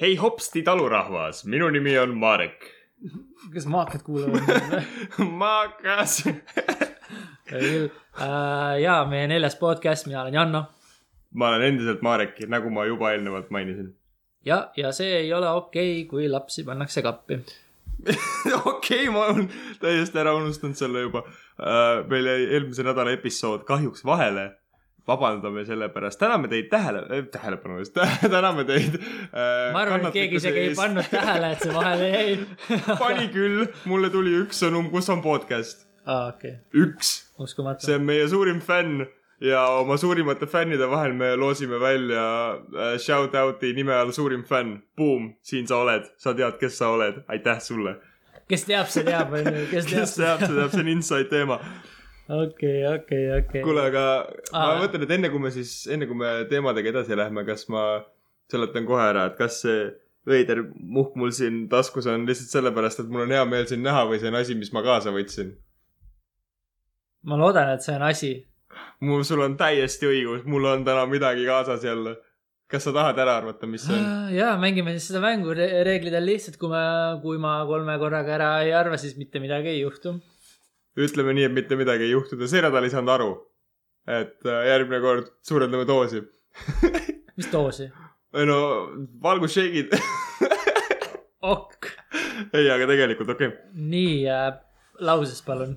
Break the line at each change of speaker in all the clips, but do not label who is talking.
hei hopsti talurahvas , minu nimi on Marek .
kas maakad kuulavad mind või ?
Maakas .
ei küll äh, . ja meie neljas podcast , mina olen Janno
ma olen endiselt Marek , nagu ma juba eelnevalt mainisin .
ja , ja see ei ole okei okay, , kui lapsi pannakse kappi .
okei , ma olen täiesti ära unustanud selle juba . meil jäi eelmise nädala episood kahjuks vahele . vabandame selle pärast , täname teid tähele , tähelepanu eest , täname teid . äh,
ma arvan , et keegi isegi ei pannud tähele , et see vahele jäi .
pani küll , mulle tuli üks sõnum , kus on podcast ,
aa , okei ,
üks
uskumatu .
see on meie suurim fänn ja oma suurimate fännide vahel me loosime välja äh, shout-out'i nime all suurim fänn . Boom , siin sa oled , sa tead , kes sa oled , aitäh sulle .
kes teab , see teab , onju , kes teab ,
kes teab , see teab , see on inside teema .
okei , okei , okei .
kuule , aga ma
Aa.
mõtlen , et enne kui me siis , enne kui me teemadega edasi lähme , kas ma seletan kohe ära , et kas see veider muhk mul siin taskus on lihtsalt sellepärast , et mul on hea meel sind näha või see on asi , mis ma kaasa võtsin ?
ma loodan , et see on asi .
mul , sul on täiesti õigus , mul on täna midagi kaasas jälle . kas sa tahad ära arvata , mis see on ?
ja Äh, mängime siis seda mängu , reeglid on lihtsad , kui ma , kui ma kolme korraga ära ei arva , siis mitte midagi ei juhtu .
ütleme nii , et mitte midagi ei juhtu , ta see nädal ei saanud aru . et äh, järgmine kord suurendame doosi .
mis doosi ?
ei no , valgusšeigid .
ok ,
ei , aga tegelikult okei okay. .
nii äh, , lauses palun .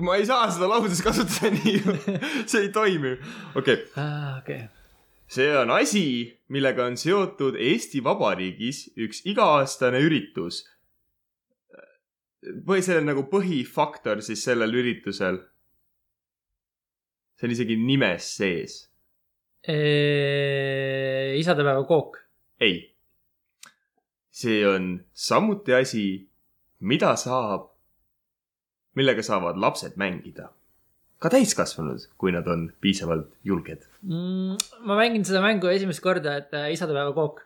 ma ei saa seda lauses kasutada nii , see ei toimi . okei okay. ,
Äh, okei ,
see on asi , millega on seotud Eesti Vabariigis üks iga-aastane üritus . või see on nagu põhifaktor siis sellel üritusel . see on isegi nimes sees
isadepäeva kook .
ei . see on samuti asi , mida saab , millega saavad lapsed mängida . ka täiskasvanud , kui nad on piisavalt julged .
mm, . ma mängin seda mängu esimest korda , et äh, isadepäeva kook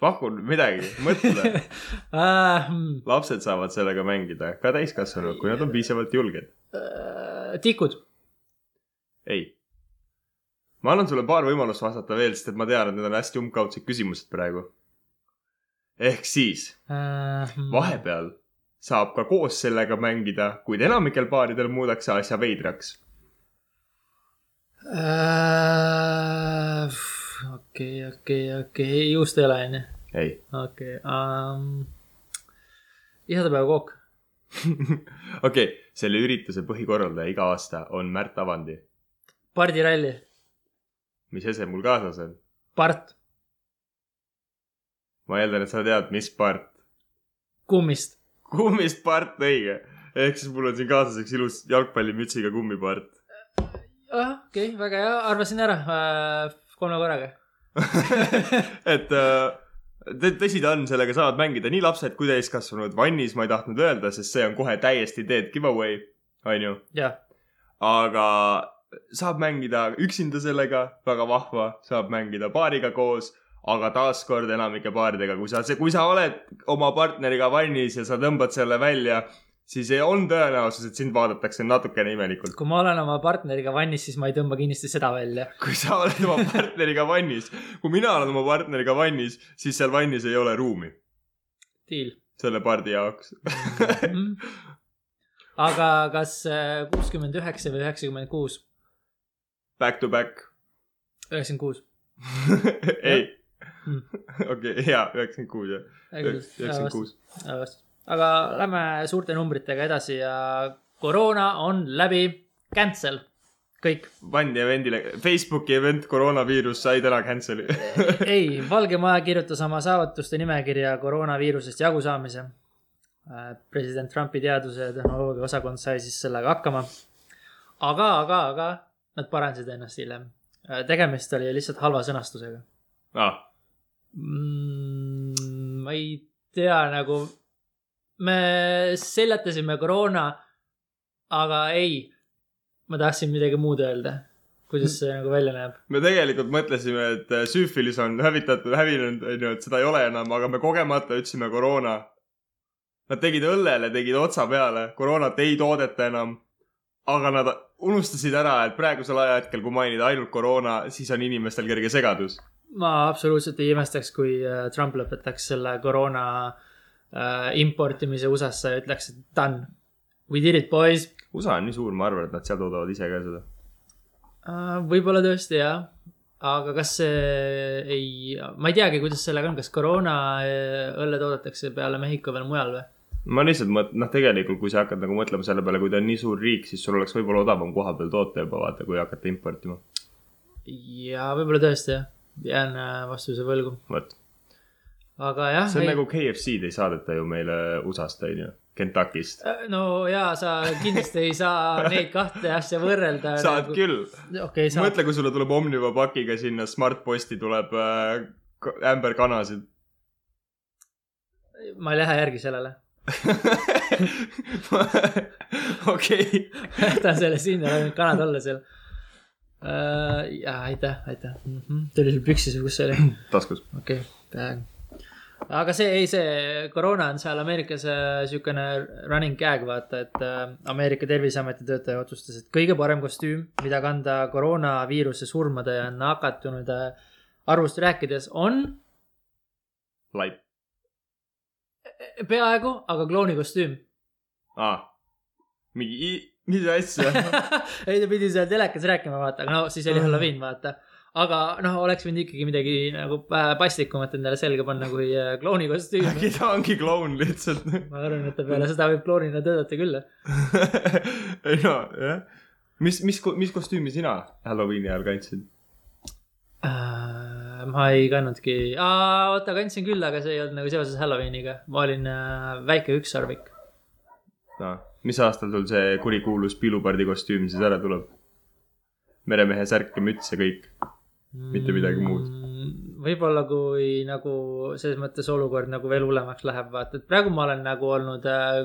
pakun midagi , mõtle .
uh, . Mm,
lapsed saavad sellega mängida , ka täiskasvanud , kui nad on piisavalt julged .
uh, tikud ,
ei . ma annan sulle paar võimalust vastata veel , sest et ma tean , et need on hästi umbkaudsed küsimused praegu . ehk siis
uh, .
vahepeal saab ka koos sellega mängida , kuid enamikel paaridel muudaks see asja veidraks .
Uh, okei , okei , okei , juust ei ole onju ,
ei .
okei um, . isadepäeva kook ,
okei , selle ürituse põhikorraldaja iga aasta on Märt Avandi .
pardiralli ,
mis ese mul kaasas on ?
part ,
ma eeldan , et sa tead , mis part ,
kummist ,
kummist part õige . ehk siis mul on siin kaasas üks ilus jalgpallimütsiga kummipart .
Ah, okei , väga hea , arvasin ära uh, kolme korraga ,
et äh, tõ- tõsi ta on , sellega saavad mängida nii lapsed kui täiskasvanud . vannis ma ei tahtnud öelda , sest see on kohe täiesti dead giveaway , onju .
jah ,
aga saab mängida üksinda sellega , väga vahva , saab mängida paariga koos , aga taaskord enamike paaridega , kui sa , kui sa oled oma partneriga vannis ja sa tõmbad selle välja , siis ei- on tõenäosus , et sind vaadatakse natukene imelikult .
kui ma olen oma partneriga vannis , siis ma ei tõmba kindlasti seda välja ,
kui sa oled oma partneriga vannis , kui mina olen oma partneriga vannis , siis seal vannis ei ole ruumi
deal
selle pardi jaoks .
mm. . aga kas äh, kuuskümmend üheksa või üheksakümmend kuus ,
Back to back
üheksakümmend kuus ,
ei
Mm. .
okei , hea , üheksakümmend kuus jah , üheksakümmend
üheksakümmend kuus
kuus .
Just. Äh, aga lähme suurte numbritega edasi ja koroona on läbi , cancel , kõik .
pandi event'ile , Facebooki event koroonaviirus sai täna cancel'i .
ei , Valge Maja kirjutas oma saavutuste nimekirja koroonaviirusest jagusaamise . president Trumpi teaduse ja tehnoloogia osakond sai siis sellega hakkama . aga , aga , aga nad parandasid ennast hiljem . tegemist oli lihtsalt halva sõnastusega
ah,
mm, . ma ei tea nagu , me seljatasime koroona , aga ei , ma tahtsin midagi muud öelda , kuidas see nagu välja näeb .
me tegelikult mõtlesime , et äh, süüfilis on hävitatud , hävinenud , onju , et seda ei ole enam , aga me kogemata ütlesime koroona . Nad tegid õllele , tegid otsa peale , koroonat ei toodeta enam . aga nad unustasid ära , et praegusel ajahetkel , kui mainida ainult koroona , siis on inimestel kerge segadus .
ma absoluutselt ei imestaks , kui äh, Trump lõpetaks selle koroona äh, importimise USA-sse ja ütleks , et done . We did it , boys
USA on nii suur , ma arvan , et nad seal toodavad ise ka seda .
Äh, võib-olla tõesti jah , aga kas see ei , ma ei teagi , kuidas sellega on , kas koroona äh, õlle toodetakse peale Mehhiko veel mujal või ?
ma lihtsalt mõtlen , noh , tegelikult kui sa hakkad nagu mõtlema selle peale , kui ta on nii suur riik , siis sul oleks võib-olla odavam koha peal toota juba vaata , kui hakata importima .
ja võib-olla tõesti jah , jään äh, vastuse võlgu ,
vot ,
aga jah .
see on nagu KFC-d ei saadeta ju meile USA-st onju , Kentuckist .
Äh, no ja sa kindlasti ei saa neid kahte asja võrrelda .
saad .
nagu
küll ,
okei okay, , saad .
mõtle , kui sulle tuleb Omniva pakiga sinna Smartposti tuleb äh, k- ämberkanasid .
ma ei lähe järgi sellele ,
okei ,
jätan selle sinna , lasen kanad olla seal . ja aitäh , aitäh mm . -hmm. tuli sul püksis või kus see oli ?
taskus .
okei okay, , peaaegu . aga see , ei see koroona on seal Ameerikas äh, siukene running gag , vaata , et äh, Ameerika terviseameti töötaja otsustas , et kõige parem kostüüm , mida kanda koroonaviiruse surmade ja nakatunute arvust rääkides , on
laip ,
peaaegu , aga klouni kostüüm .
aa , Ah. mingi , mis asja ,
ei , ta pidi seal telekas rääkima , vaata , aga no siis oli Halloween , vaata . aga noh , oleks võinud ikkagi midagi nagu vähe pastlikumat endale selga panna kui äh, klouni kostüüm .
äkki ta ongi kloun lihtsalt
ma arvan , et ta peale seda võib klounina töötada küll
ei no , jah . mis , mis , mis kostüümi sina Halloweeni ajal kandsid ?
Äh, ma ei kandnudki , oota kandsin küll , aga see ei olnud nagu seoses Halloweeniga , ma olin äh, väike ükssarvik .
noh , mis aastal sul see kurikuulus piilupardi kostüüm siis ära tuleb ? meremehe särk ja müts ja kõik . Mitte midagi muud. .
Mm, võib-olla kui nagu selles mõttes olukord nagu veel hullemaks läheb , vaata , et praegu ma olen nagu olnud äh,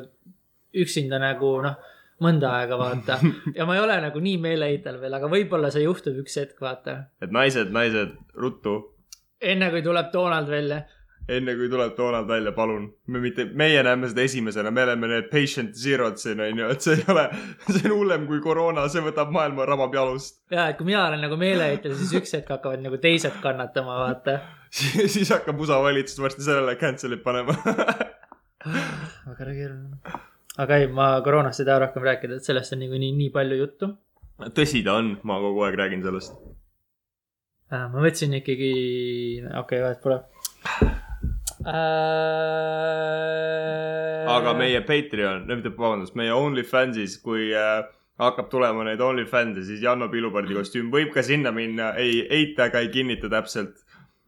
üksinda nagu noh , mõnda aega vaata ja ma ei ole nagu nii meeleheitel veel , aga võib-olla see juhtub üks hetk , vaata .
et naised , naised , ruttu ,
enne kui tuleb Donald välja ,
enne kui tuleb Donald välja , palun . me mitte , meie näeme seda esimesena , me oleme need patient zero'd siin onju , et see ei ole , see on hullem kui koroona , see võtab maailma rabab jalust .
ja et kui mina olen nagu meeleheitel , siis üks hetk hakkavad nagu teised kannatama , vaata
siis hakkab USA valitsus varsti sellele cancel'it panema .
väga keeruline . aga ei , ma koroonast ei taha rohkem rääkida , et sellest on niikuinii nii palju juttu .
tõsi ta on , ma kogu aeg räägin sellest .
Äh, ma võtsin ikkagi , okei , vahet pole . Äh,
aga . meie Patreon , mitte vabandust , meie OnlyFansis , kui äh, hakkab tulema neid OnlyFans'e , siis Janno Pilupardi kostüüm võib ka sinna minna , ei eita ega ei kinnita täpselt .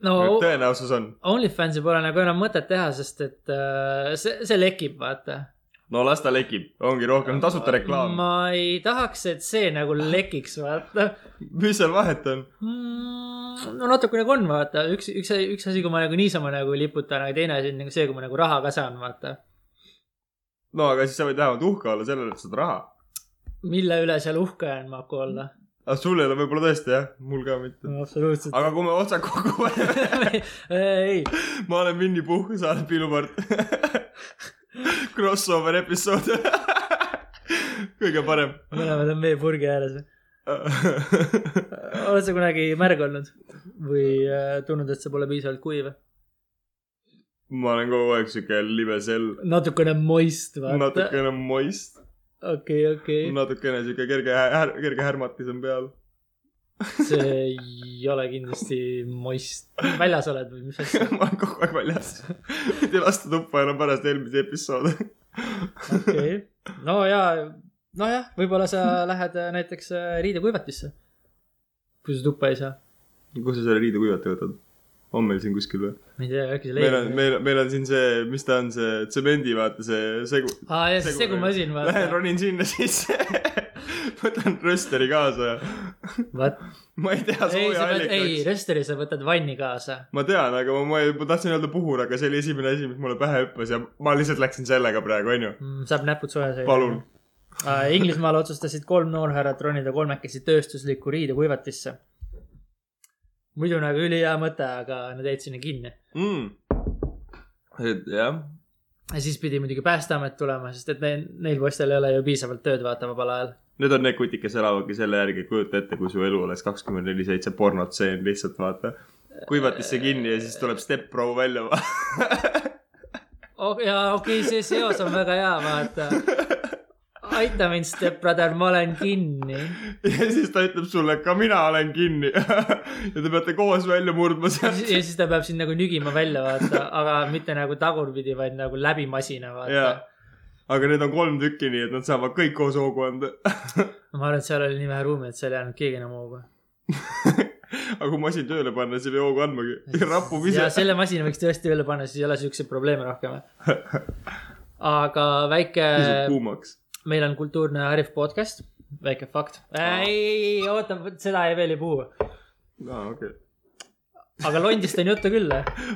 no
tõenäosus on ,
OnlyFansi pole nagu enam mõtet teha , sest et äh, see , see lekib , vaata .
no las ta lekib , ongi rohkem tasuta reklaam .
ma ei tahaks , et see nagu lekiks , vaata
mis seal vahet on ?
Mm, no natuke nagu on , vaata , üks , üks , üks asi , kui ma nagu niisama nagu liputan , aga teine asi on nagu see , kui ma nagu raha ka saan , vaata .
no aga siis sa võid vähemalt uhke olla sellele , et saad raha .
mille üle seal uhke on Maku olla .
aga sul ei ole võib-olla tõesti jah , mul ka mitte .
Mm. absoluutselt .
aga kui me otsad kokku paneme ,
ei ,
ma olen Vinni Puhk , sa oled Pilupart . Crossover episood . kõige parem .
mõlemad on veepurgi ääres . oled sa kunagi märg olnud või äh, tundnud , et sa pole piisavalt kuiv ?
ma olen kogu aeg siuke libe sell ,
natukene moist vaata .
natukene moist ,
okei , okei ,
natukene siuke kerge här, , kerge härmatis on peal .
see ei ole kindlasti moist . väljas oled või mis asja ?
ma olen kogu aeg väljas . ei lasta tuppa enam pärast eelmisi episoode .
okei okay. , no ja , nojah , võib-olla sa lähed äh, näiteks äh, riidekuivatisse . kui sa tuppa ei saa .
kus sa selle riide kuivata võtad ? on meil siin kuskil või ?
ma ei tea , äkki sa
meil on ,
leiad .
meil , meil on siin see , mis ta on , see tsemendi , vaata see segu .
aa jah , see segumasin
Lähen
vaata .
ronin sinna sisse . võtan rösteri kaasa ja
vaat ,
ma ei tea
ei ,
sooja
sa pead , ei ,
allikaks .
rösteri sa võtad vanni kaasa .
ma tean , aga ma , ma, ma tahtsin öelda puhur , aga see oli esimene asi , mis mulle pähe hüppas ja ma lihtsalt läksin sellega praegu , onju .
Mm, saab näpud soojas hoida .
palun ..
Inglismaal otsustasid kolm noorhärrat ronida kolmekesi tööstuslikku riidekuivatisse . muidu nagu ülihea mõte , aga nad jäid sinna kinni .
mm. . et jah ,
ja siis pidi muidugi Päästeamet tulema , sest et neil , neil poistel ei ole ju piisavalt tööd vaata vabal ajal .
need on need kutid , kes elavadki selle järgi , kujuta ette , kui su elu oleks kakskümmend neli seitse pornotseen lihtsalt vaata . kuivatisse kinni ja siis tuleb step-pro välja .
oh, . jaa , okei okay, , see seos on väga hea , vaata . aita mind , stepbrother , ma olen kinni .
ja siis ta ütleb sulle , ka mina olen kinni . ja te peate koos välja murdma
ja
sealt .
siis ta peab sind nagu nügima välja , vaata , aga mitte nagu tagurpidi , vaid nagu läbi masina , vaata
jaa . aga neid on kolm tükki , nii et nad saavad kõik koos hoogu anda .
ma arvan , et seal oli nii vähe ruumi , et seal ei jäänud keegi enam hoogu .
aga kui masin tööle panna , siis ei pea hoogu andmagi . rapub ise .
ja selle masina võiks tõesti üle panna , siis ei ole siukseid probleeme rohkem . aga väike ,
pisut kuumaks .
meil on kultuurne Arif podcast , väike fakt . ei , ei , ei , oota , seda ei veel ei puhu .
aa , okei .
aga londist on juttu küll .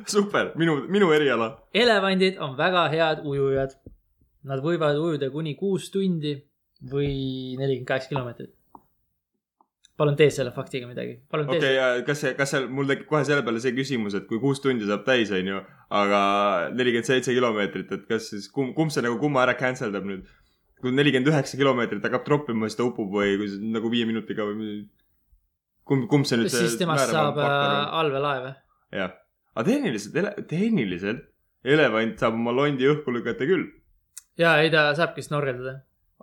super , minu , minu eriala .
elevandid on väga head ujujad . Nad võivad ujuda kuni kuus tundi või nelikümmend kaheksa kilomeetrit . palun tee selle faktiga midagi , palun tee
okei
okay. ,
ja kas see , kas seal , mul tekib kohe selle peale see küsimus , et kui kuus tundi saab täis , onju , aga nelikümmend seitse kilomeetrit , et kas siis kumb , kumb see nagu kumma ära cancel dab nüüd ? kui nelikümmend üheksa kilomeetrit hakkab troppima , siis ta upub või kui see nagu viie minutiga või mi- kumb , kumb see nüüd
siis temast saab äh, allveelaeve .
äh... . jah , aga tehniliselt , tehniliselt elevant saab oma londi õhku lükata küll ,
ja ei , ta saabki snorgeldada .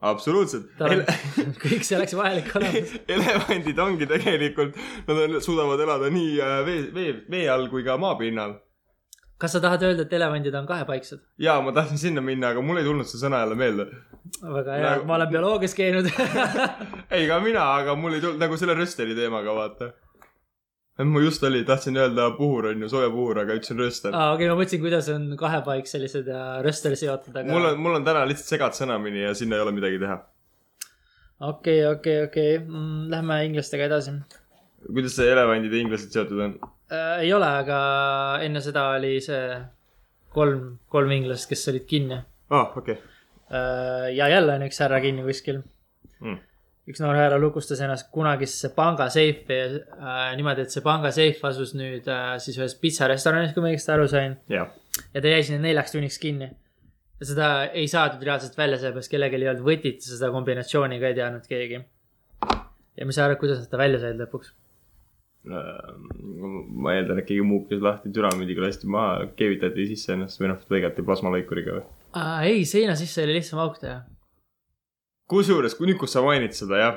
absoluutselt .
tal on kõik selleks vajalik olemas .
elevandid ongi tegelikult , nad on, suudavad elada nii äh, vee , vee , vee all kui ka maapinnal .
kas sa tahad öelda , et elevandid on kahepaiksed ?
jaa , ma tahtsin sinna minna , aga mul ei tulnud see sõna jälle meelde .
väga hea
Nagu- ,
ma olen bioloogias käinud .
ei , ka mina , aga mul ei tulnud nagu selle rösteri teemaga , vaata . ma just oli , tahtsin öelda puhur on ju , sooja puhur , aga ütlesin röster .
aa , okei , ma mõtlesin , kuidas on kahepaik sellised ja röster seotud , aga
mul on , mul on täna lihtsalt segad sõnamini ja sinna ei ole midagi teha .
okei , okei , okei , lähme inglastega edasi
kuidas see elevandid ja inglased seotud on ?
äh, . ei ole , aga enne seda oli see kolm , kolm inglast , kes olid kinni
aa ah, , okei okay.
äh, . ja jälle on üks härra kinni kuskil .
mm. .
üks noor härra lukustas ennast kunagisse pangaseifi äh, niimoodi , et see pangaseif asus nüüd äh, siis ühes pitsarestoranis , kui ma õigesti aru sain .
jah ,
ja ta jäi sinna neljaks tunniks kinni . ja seda ei saadud reaalselt välja , sellepärast kellelgi ei olnud võtit , seda kombinatsiooni ka ei teadnud keegi . ja mis sa arvad , kuidas nad ta välja said lõpuks ?
Äh, ma eeldan , et keegi muukis lahti dünamiidiga lasti maha , keevitati sisse ennast või noh , lõigati plasmalõikuriga või ?
ei , seina sisse oli lihtsam auk teha
kusjuures , kui nüüd , kus sa mainid seda jah ,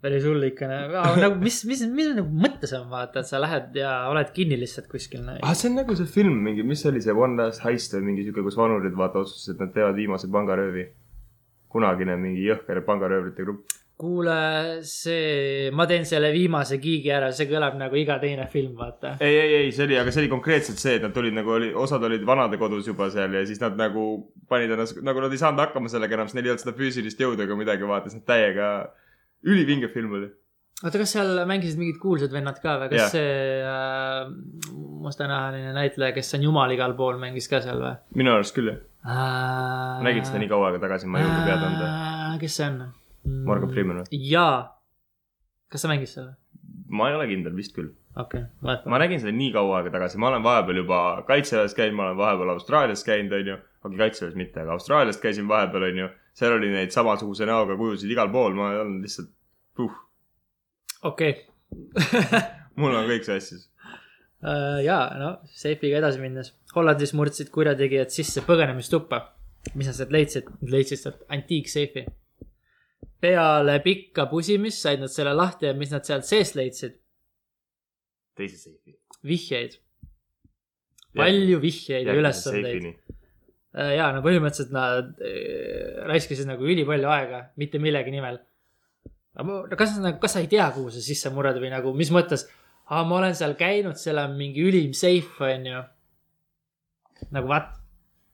päris hull ikka , aga nagu mis , mis , mis nagu mõttes on vaata , et sa lähed ja oled kinni lihtsalt kuskil noh. no. .
ah, . see on nagu see film mingi , mis see oli see One Last Heist või mingi siuke , kus vanurid vaata otsustasid , et nad teevad viimase pangaröövi . kunagine mingi jõhker pangaröövrite grupp .
kuule , see , ma teen selle viimase kiigi ära , see kõlab nagu iga teine film , vaata .
ei , ei , ei , see oli , aga see oli konkreetselt see , et nad tulid nagu oli , osad olid vanadekodus juba seal ja siis nad nagu panid ennast , nagu nad ei saanud hakkama sellega enam , sest neil ei olnud seda füüsilist jõudu ega midagi , vaata , siis nad täiega , ülivinge film oli .
oota , kas seal mängisid mingid kuulsad vennad ka või , kas
Jah.
yeah. see äh, mustanahaline näitleja , kes on jumal igal pool , mängis ka seal või
minu arust küll jah ,
äh, ?
nägid seda nii kaua aega tagasi , ma ei julge pead anda .
äh, . kes see on ?
Morgan Freeman või ?
jaa . kas sa mängid seal või ?
ma ei ole kindel , vist küll .
okei okay, , vaata .
ma nägin seda nii kaua aega tagasi , ma olen vahepeal juba kaitseväes käinud , ma olen vahepeal Austraalias käinud , onju . okei , kaitseväes mitte , aga Austraalias käisin vahepeal , onju . seal oli neid samasuguse näoga kujusid igal pool , ma olen lihtsalt , puh ,
okei okay.
mul on kõik sassis .
Äh, jaa , no seifiga edasi minnes . Hollandis murdsid kurjategijad sisse põgenemistuppa . mis nad sealt leidsid ? Nad leidsid sealt antiikseifi . peale pikka pusimist said nad selle lahti ja mis nad sealt seest leidsid ?
teise seifi .
vihjeid . palju vihjeid ja ülesandeid .. jaa , no põhimõtteliselt nad äh, raiskasid nagu ülipalju aega mitte millegi nimel . aga ma- no kas , kas sa ei tea , kuhu sa sisse murrad või nagu , mis mõttes ? aa , ma olen seal käinud , seal on mingi ülim seif , onju . nagu what ?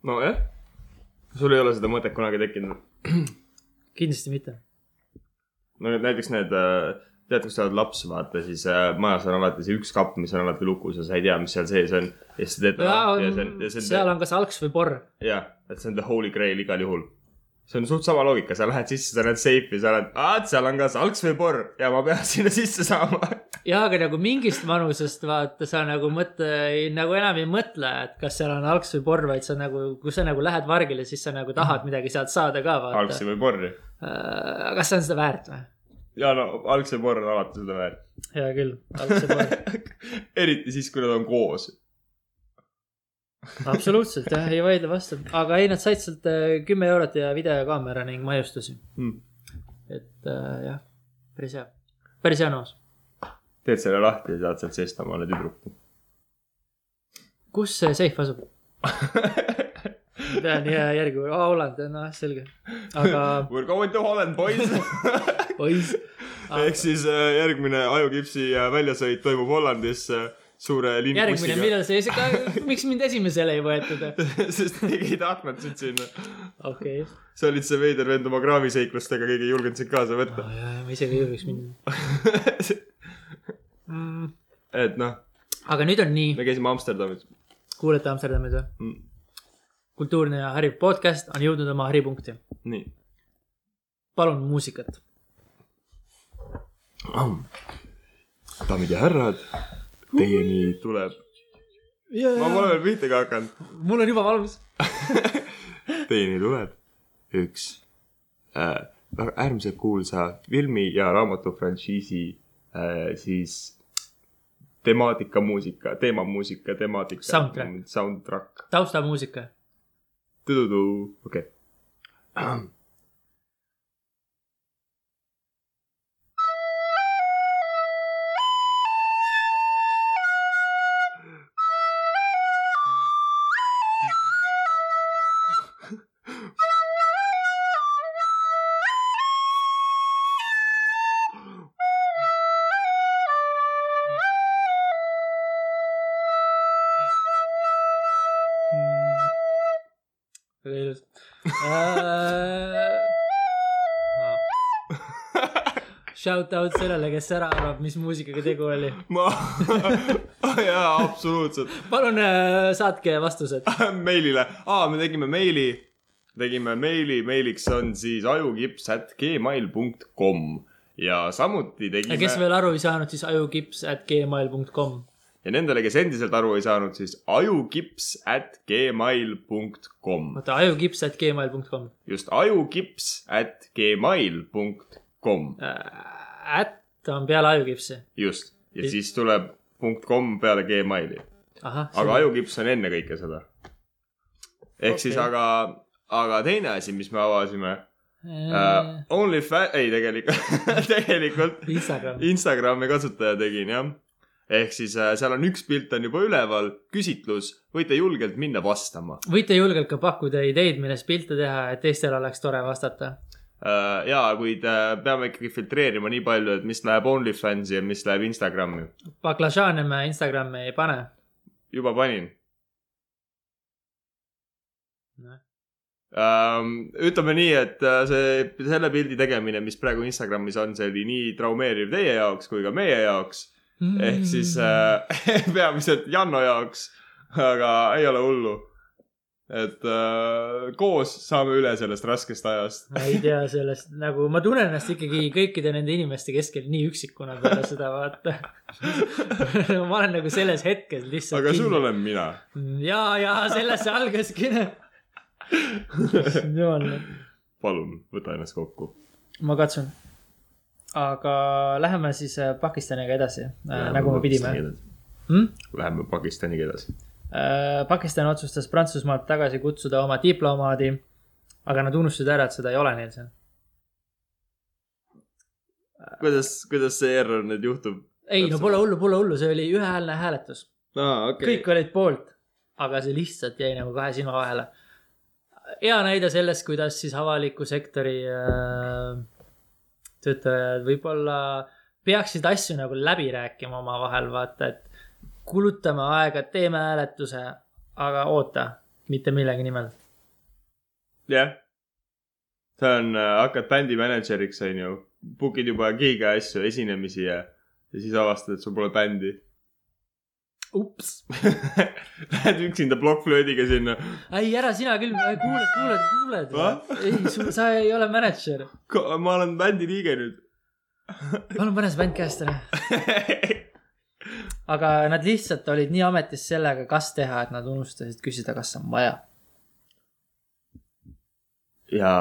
nojah , sul ei ole seda mõtet kunagi tekkinud .
kindlasti mitte .
no nüüd näiteks need , tead , kui sa oled laps , vaata , siis äh, majas on alati see üks kapp , mis on alati lukus ja sa ei tea , mis seal sees on . ja siis sa teed .
seal on kas alks või porr .
jah , et see on the holy grail igal juhul . see on suht sama loogika , sa lähed sisse , sa näed seifi , sa oled , aa , seal on kas alks või porr ja ma pean sinna sisse saama .
jaa , aga nagu mingist vanusest vaata , sa nagu mõtle , nagu enam ei mõtle , et kas seal on alks või porr , vaid sa nagu , kui sa nagu lähed vargile , siis sa nagu tahad midagi sealt saada ka vaata .
alksi või porri .
aga kas see on seda väärt või ?
ja no algse porr on alati seda väärt .
hea küll , algse poole .
eriti siis , kui nad on koos .
absoluutselt jah , ei vaidle vastu , aga ei , nad said sealt äh, kümme eurot ja videokaamera ning maiustusi .
Hmm.
et äh, jah , päris hea , päris hea nõus .
teed selle lahti ja saad sealt Sestamaa tüdruku .
kus see seif asub ? pean jää järgi , aa Holland , noh selge , aga
We are going to Holland boys .
oi ,
ehk siis äh, järgmine ajukipsi äh, väljasõit toimub Hollandis äh, suure
järgmine ,
linnbussiga .
millal see , miks mind esimesele ei võetud ?
sest keegi ei tahtnud sind sinna .
okei ,
sa olid see veider vend oma kraaviseiklustega , keegi ei julgenud sind kaasa võtta .
Ah, ma isegi ei julgeks minna mm. .
et noh ,
aga nüüd on nii ,
me käisime Amsterdamis .
kuulete Amsterdamis või ? Mm. kultuurne ja hariv podcast on jõudnud oma haripunkti .
nii .
palun muusikat .
daamid ja härrad , teieni tuleb . ma pole veel pihta ka hakanud .
mul on juba valmis .
teieni tuleb üks äh, väga äärmiselt kuulsa filmi ja raamatu frantsiisi äh, siis temaatika muusika , teemamuusika , temaatika .
Soundtrack.
Soundtrack .
taustamuusika .
Tududu, okei okay. .
väga ilus . Äh, Shout out sellele , kes ära arvab , mis muusikaga tegu oli .
ma jaa , absoluutselt .
palun äh, saatke vastused .
meilile , aa , me tegime meili , tegime meili , meiliks on siis ajukips at gmail punkt kom ja samuti
ja kes
tegime
veel aru ei saanud , siis ajukips at gmail punkt kom .
ja nendele , kes endiselt aru ei saanud , siis ajukips at gmail punkt kom ,
oota , ajukips at gmail punkt kom .
just ajukips at gmail punkt kom ,
Äh, At on peale ajukipsi .
just , ja
Ei-
siis tuleb punkt kom peale Gmaili
ahah ,
aga ajukips on enne kõike seda . ehk okay. siis ,
Okei.
aga , aga teine asi , mis me avasime uh,
äh, .
OnlyFans , ei tegelikult , tegelikult
Instagram .
Instagrami kasutaja tegin jah . ehk siis uh, seal on üks pilt on juba üleval , küsitlus , võite julgelt minna vastama
võite julgelt ka pakkuda ideid , millest pilte teha , et teistel oleks tore vastata .
uh, . ja kuid uh, peame ikkagi filtreerima nii palju , et mis läheb OnlyFansi ja mis läheb Instagrami .
baklažaane me Instagrami ei pane .
juba panin
Noh. .
Ähm, ütleme nii , et äh, see , selle pildi tegemine , mis praegu Instagramis on , see oli nii traumeeriv teie jaoks kui ka meie jaoks .
Mm.
ehk siis
Hmm.
äh, peamiselt Janno jaoks , aga ei ole hullu . et äh, koos saame üle sellest raskest ajast .
ma ei tea sellest , nagu ma tunnen ennast ikkagi kõikide nende inimeste keskel nii üksikuna peale seda vaata . ma olen nagu selles hetkes lihtsalt . Hmm,
aga sul . olen mina .
ja , ja sellest see algaski . jumal ,
palun , võta ennast kokku .
ma katsun . aga läheme siis äh, Pakistaniga edasi , nagu me pidime . Hmm?
Läheme Pakistaniga edasi .
Äh, Pakistan otsustas Prantsusmaalt tagasi kutsuda oma diplomaadi , aga nad unustasid ära , et seda ei ole neil seal .
kuidas , kuidas see error nüüd juhtub ?
ei , no pole hullu , pole hullu , see oli ühehäälne hääletus ,
aa , okei
kõik . olid poolt , aga see lihtsalt jäi nagu kahe silma vahele . hea näide sellest , kuidas siis avaliku sektori äh, töötajad võib-olla peaksid asju nagu läbi rääkima omavahel , vaata , et kulutame aega , teeme hääletuse , aga oota , mitte millegi nimel .
jah . sa on , hakkad bändi mänedžeriks , onju , book'id juba giga asju , esinemisi ja , ja siis avastad , et sul pole bändi .
ups
Lähed üksinda blokkflöödiga sinna .
ei , ära sina küll , kuuled , kuuled , kuuled .
Va?
ei , sul , sa ei ole mänedžer .
ma olen bändi liige nüüd .
palun pane see bänd käest ära . aga nad lihtsalt olid nii ametis sellega , kas teha , et nad unustasid küsida , kas on vaja .
ja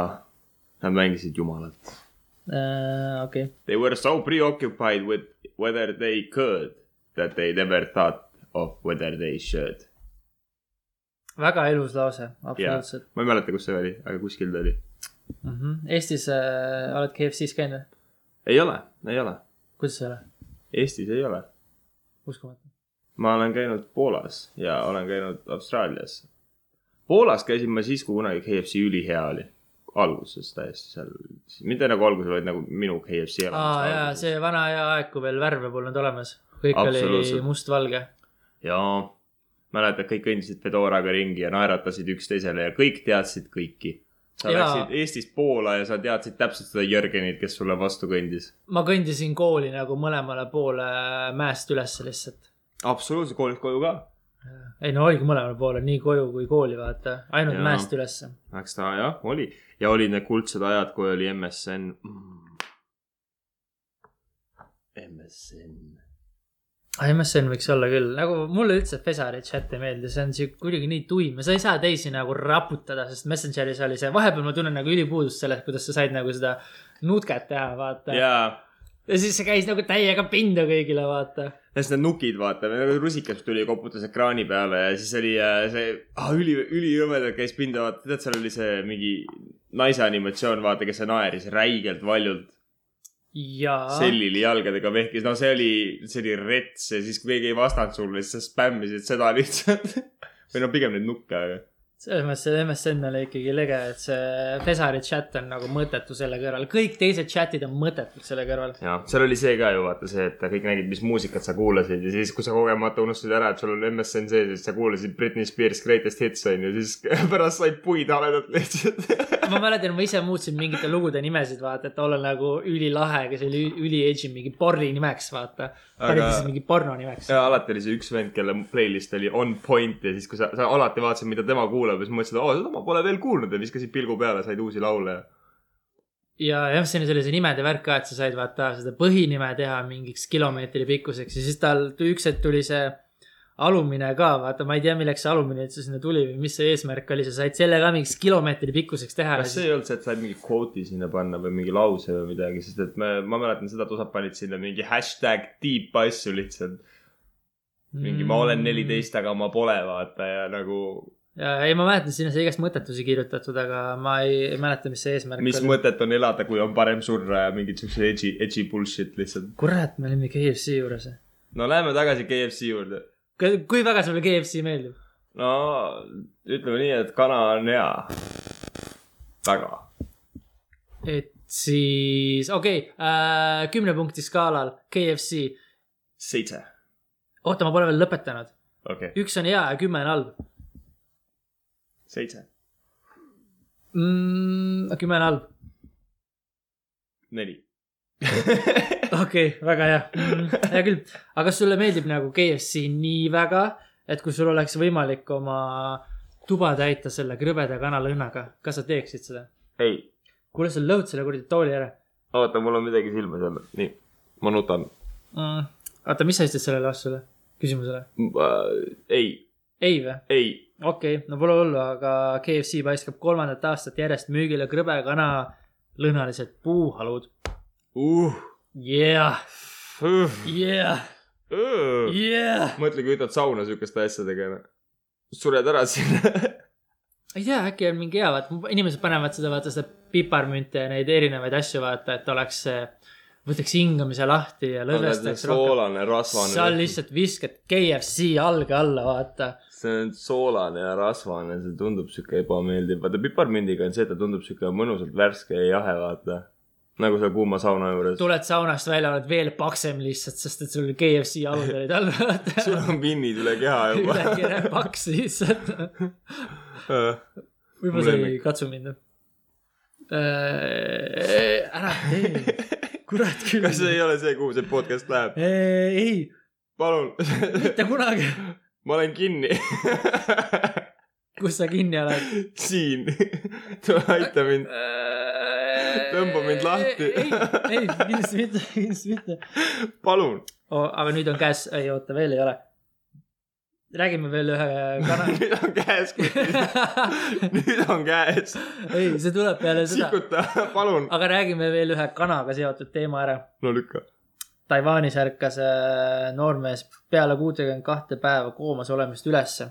nad mängisid jumalat .
Äh, okei ,
They were so preoccupied with whether they could that they never thought of whether they should .
väga ilus lause , absoluutselt
ma ei mäleta , kus see oli , aga kuskil ta oli .
yeah. . Mm -hmm. Eestis äh, oled KFC-s käinud või ?
ei ole , ei ole ,
kuidas ei ole ?
Eestis ei ole .
uskumatu .
ma olen käinud Poolas ja olen käinud Austraalias . Poolas käisin ma siis , kui kunagi KFC ülihea oli . alguses täiesti seal , mitte nagu alguses , vaid nagu minu KFC
aa jaa ,
alguses .
see vana hea aeg , kui veel värve polnud olemas . kõik oli
Absoluutselt.
mustvalge .
ja mäletad , kõik kõndisid Fedoraga ringi ja naeratasid üksteisele ja kõik teadsid kõiki . sa
Jaa.
ja. läksid Eestist Poola ja sa teadsid täpselt seda Jörgenit , kes sulle vastu kõndis .
ma kõndisin kooli nagu mõlemale poole mäest ülesse lihtsalt .
absoluutselt , koolist koju ka .
ei no oligi mõlemale poole , nii koju kui kooli vaata , ainult
Jaa.
ja. mäest ülesse .
eks ta jah , oli ja olid need kuldsed ajad , kui oli MSN mm. . MSN
MSN võiks olla küll , nagu mulle üldse Fesari chat ei meeldi , see on siuke kuidagi nii tuim ja sa ei saa teisi nagu raputada , sest Messengeris oli see , vahepeal ma tunnen nagu ülipuudust sellest , kuidas sa said nagu seda nutket teha , vaata ja,
jaa ,
ja siis see käis nagu täiega pinda kõigile , vaata .
sest need nukid , vaata , rusikas tuli , koputas ekraani peale ja siis oli äh, see ah, üli , ülihõmedalt käis pinda , vaata , tead , seal oli see mingi naise animatsioon , vaata , kes naeris räigelt valjult .
jaa ,
sellili jalgadega vehkis , no see oli , see oli rets ja siis , kui keegi ei vastanud sulle , siis sa spämmisid seda lihtsalt . või no pigem neid nukke , aga .
selles mõttes see MSN oli ikkagi lege , et see Fesari chat on nagu mõttetu selle kõrval , kõik teised chat'id on mõttetud selle kõrval .
jah , seal oli see ka ju vaata see , et kõik nägid , mis muusikat sa kuulasid ja siis , kui sa kogemata unustasid ära , et sul on MSN sees , siis sa kuulasid Britney Spears Greatest Hits onju , siis pärast said puid haledalt lihtsalt .
ma mäletan , ma ise muutsin mingite lugude nimesid , vaata , et olla nagu ülilahe , kes oli üli-edgy mingi porri nimeks , vaata . panid
Aga-
siis mingi porno nimeks .
ja alati oli see üks vend , kelle playlist oli on point ja siis , kui sa , sa alati vaatasid , mida tema kuulab ja siis mõtlesid , oo seda ma pole veel kuulnud ja viskasid pilgu peale , said uusi laule ja .
ja MSN-is oli see nimede värk ka , et sa said vaata seda põhinime teha mingiks kilomeetri pikkuseks ja siis tal tuli- üks hetk tuli see alumine ka , vaata , ma ei tea , milleks see alumine üldse sinna tuli või mis see eesmärk oli , sa said selle ka mingiks kilomeetri pikkuseks teha .
kas see ei olnud see , et said mingi kvooti sinna panna või mingi lause või midagi , sest et me , ma mäletan seda , et osad panid sinna mingi hashtag deep asju lihtsalt .
Mm.
mingi ma olen . neliteist , aga ma pole , vaata ja nagu ,
ja ei , ma mäletan , sinna sai igast mõttetusi kirjutatud , aga ma ei, ei mäleta , mis see eesmärk
mis
oli .
mõtet on elada , kui on parem surra ja mingid siuksed edgy , edgy bullshit lihtsalt .
kurat , me olime KFC juures .
no lähme tagasi KFC juurde .
kui väga sulle KFC meeldib ?
no ütleme nii , et kana on hea . väga .
et siis , okei okay, äh, , kümne punkti skaalal KFC .
seitse .
oota , ma pole veel lõpetanud .
okei okay. ,
üks on hea ja kümme on halb
seitse ,
mm, . kümme on halb ,
neli .
okei okay, , väga hea mm, . hea küll , aga kas sulle meeldib nagu KFC nii väga , et kui sul oleks võimalik oma tuba täita selle krõbeda kanalõhnaga , kas sa teeksid seda ?
ei ,
kuule , sa lõhud selle kuradi tooli ära
oota , mul on midagi silmas jälle , nii , ma nutan .
mm. . oota , mis sa ütlesid sellele vastusele , küsimusele ?
äh, ei ,
ei või ?
ei
okei okay, , no pole hullu , aga KFC paiskab kolmandat aastat järjest müügile krõbekana lõhnalised puuhalud .
uh. . uh,
Yeah , yeah ,
mõtle ,
yeah .
kui ütled sauna siukeste asjadega , sured ära sinna .
ei tea , äkki on mingi hea , vaata , inimesed panevad seda , vaata seda piparmünte ja neid erinevaid asju , vaata , et oleks , võtaks hingamise lahti ja lõdvestaks rohkem .
soolane ,
sa
rasvane .
lihtsalt viskad KFC jalge alla , vaata .
see on soolane ja rasvane , see tundub siuke ebameeldiv , vaata piparmündiga on see , et ta tundub siuke mõnusalt värske ja jahe , vaata . nagu seal kuuma sauna juures .
tuled saunast välja , oled veel paksem lihtsalt , sest et sul KFC jalud olid all , vaata .
sul on pinnid üle keha
ülegi
juba .
jääb paks lihtsalt .
Äh. Mu
võib-olla see ei
lemmik.
katsu mind . ära tee , kurat küll .
kas see ei ole see , kuhu see podcast läheb ?
Äh, ei ,
palun ,
mitte kunagi ,
ma olen kinni
kus sa kinni oled .
siin , aita mind . Tõmba mind lahti.
Äh, ei , ei , kindlasti mitte , Oh, kindlasti mitte .
palun ,
aga nüüd on käes , ei oota , veel ei ole . räägime veel ühe kana- .
nüüd on käes , nüüd on käes .
ei , see tuleb peale seda ,
sikuta , palun .
aga räägime veel ühe kanaga seotud teema ära .
no lükka .
Taiwanis ärkas äh, noormees peale kuutekümmet kahte päeva koomas olemist ülesse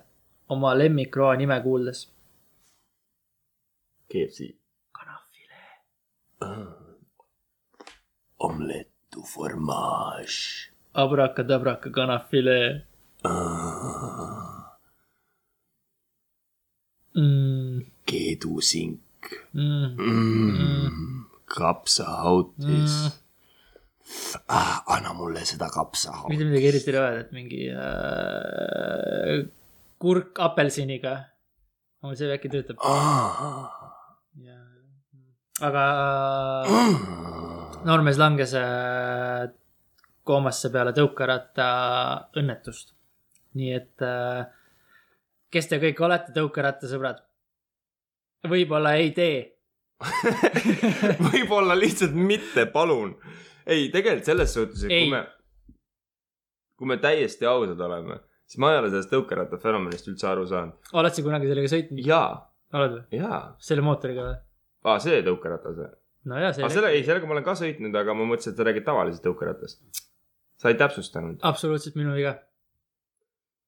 oma lemmikroa nime kuuldes .
KFC .
kanafile .
Ah. Omelette du fromage .
abrakadabraka kanafile
Ah.
mm, .
keedusink .
Mm,
Mm. kapsahautis
Mm. .
ah , anna mulle seda kapsahauti .
mitte midagi eriti ei ole öelda , et mingi äh, kurk apelsiniga . aga see äkki töötab .
Ah.
aga äh,
Mm.
noormees langes äh, koomasse peale tõukeratta õnnetust . nii et äh, kes te kõik olete tõukerattasõbrad ? võib-olla ei tee .
võib-olla lihtsalt mitte , palun . ei , tegelikult selles suhtes , et
Ei.
kui me , kui me täiesti ausad oleme , siis ma ei ole sellest tõukeratta fenomenist üldse aru saanud .
oled sa kunagi sellega sõitnud ?
jaa ,
oled või ?
jaa .
selle mootoriga või ?
aa , see tõukeratas või ?
no jaa ,
aa ,
see
Ah, selle , ei , sellega ma olen ka sõitnud , aga ma mõtlesin , et sa räägid tavalisest tõukerattast . sa ei täpsustanud .
absoluutselt minu viga .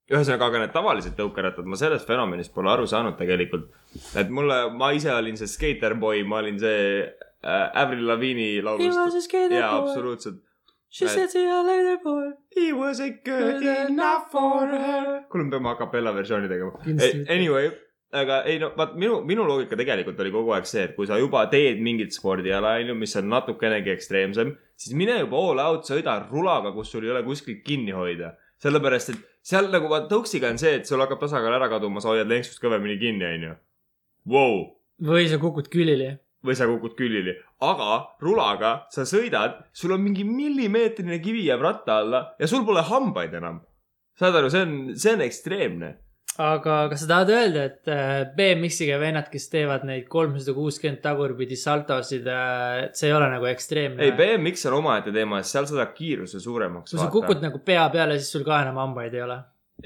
ühesõnaga , aga need tavalised tõukerattad , ma sellest fenomenist pole aru saanud tegelikult . et mulle , ma ise olin see skaterboy , ma olin see äh, Avril Lavigne'i laulust . jaa , absoluutselt .
She
et-
said see a later boy .
He was a good enough for her . kuule , me peame acapella versiooni tegema .
Kindlasti mitte.
Eh, Anyway , aga ei no vaat minu , minu loogika tegelikult oli kogu aeg see , et kui sa juba teed mingit spordiala , onju , mis on natukenegi ekstreemsem , siis mine juba all out , sõida rulaga , kus sul ei ole kuskilt kinni hoida . sellepärast , et seal nagu vaat tõuksiga on see , et sul hakkab tasakaal ära kaduma , sa hoiad lenksust kõvemini kinni , onju . Vau
või sa kukud külili .
või sa kukud külili , aga rulaga sa sõidad , sul on mingi millimeetrine kivi jääb ratta alla ja sul pole hambaid enam . saad aru , see on , see on ekstreemne .
aga kas sa tahad öelda , et äh, BMX-iga vennad , kes teevad neid kolmsada kuuskümmend tagurpidi saltosid , et see ei ole nagu ekstreemne ?
ei , BMX on omaette teema , sest seal sa saad kiiruse suuremaks .
kui sa kukud . nagu pea peale , siis sul ka enam hambaid ei ole .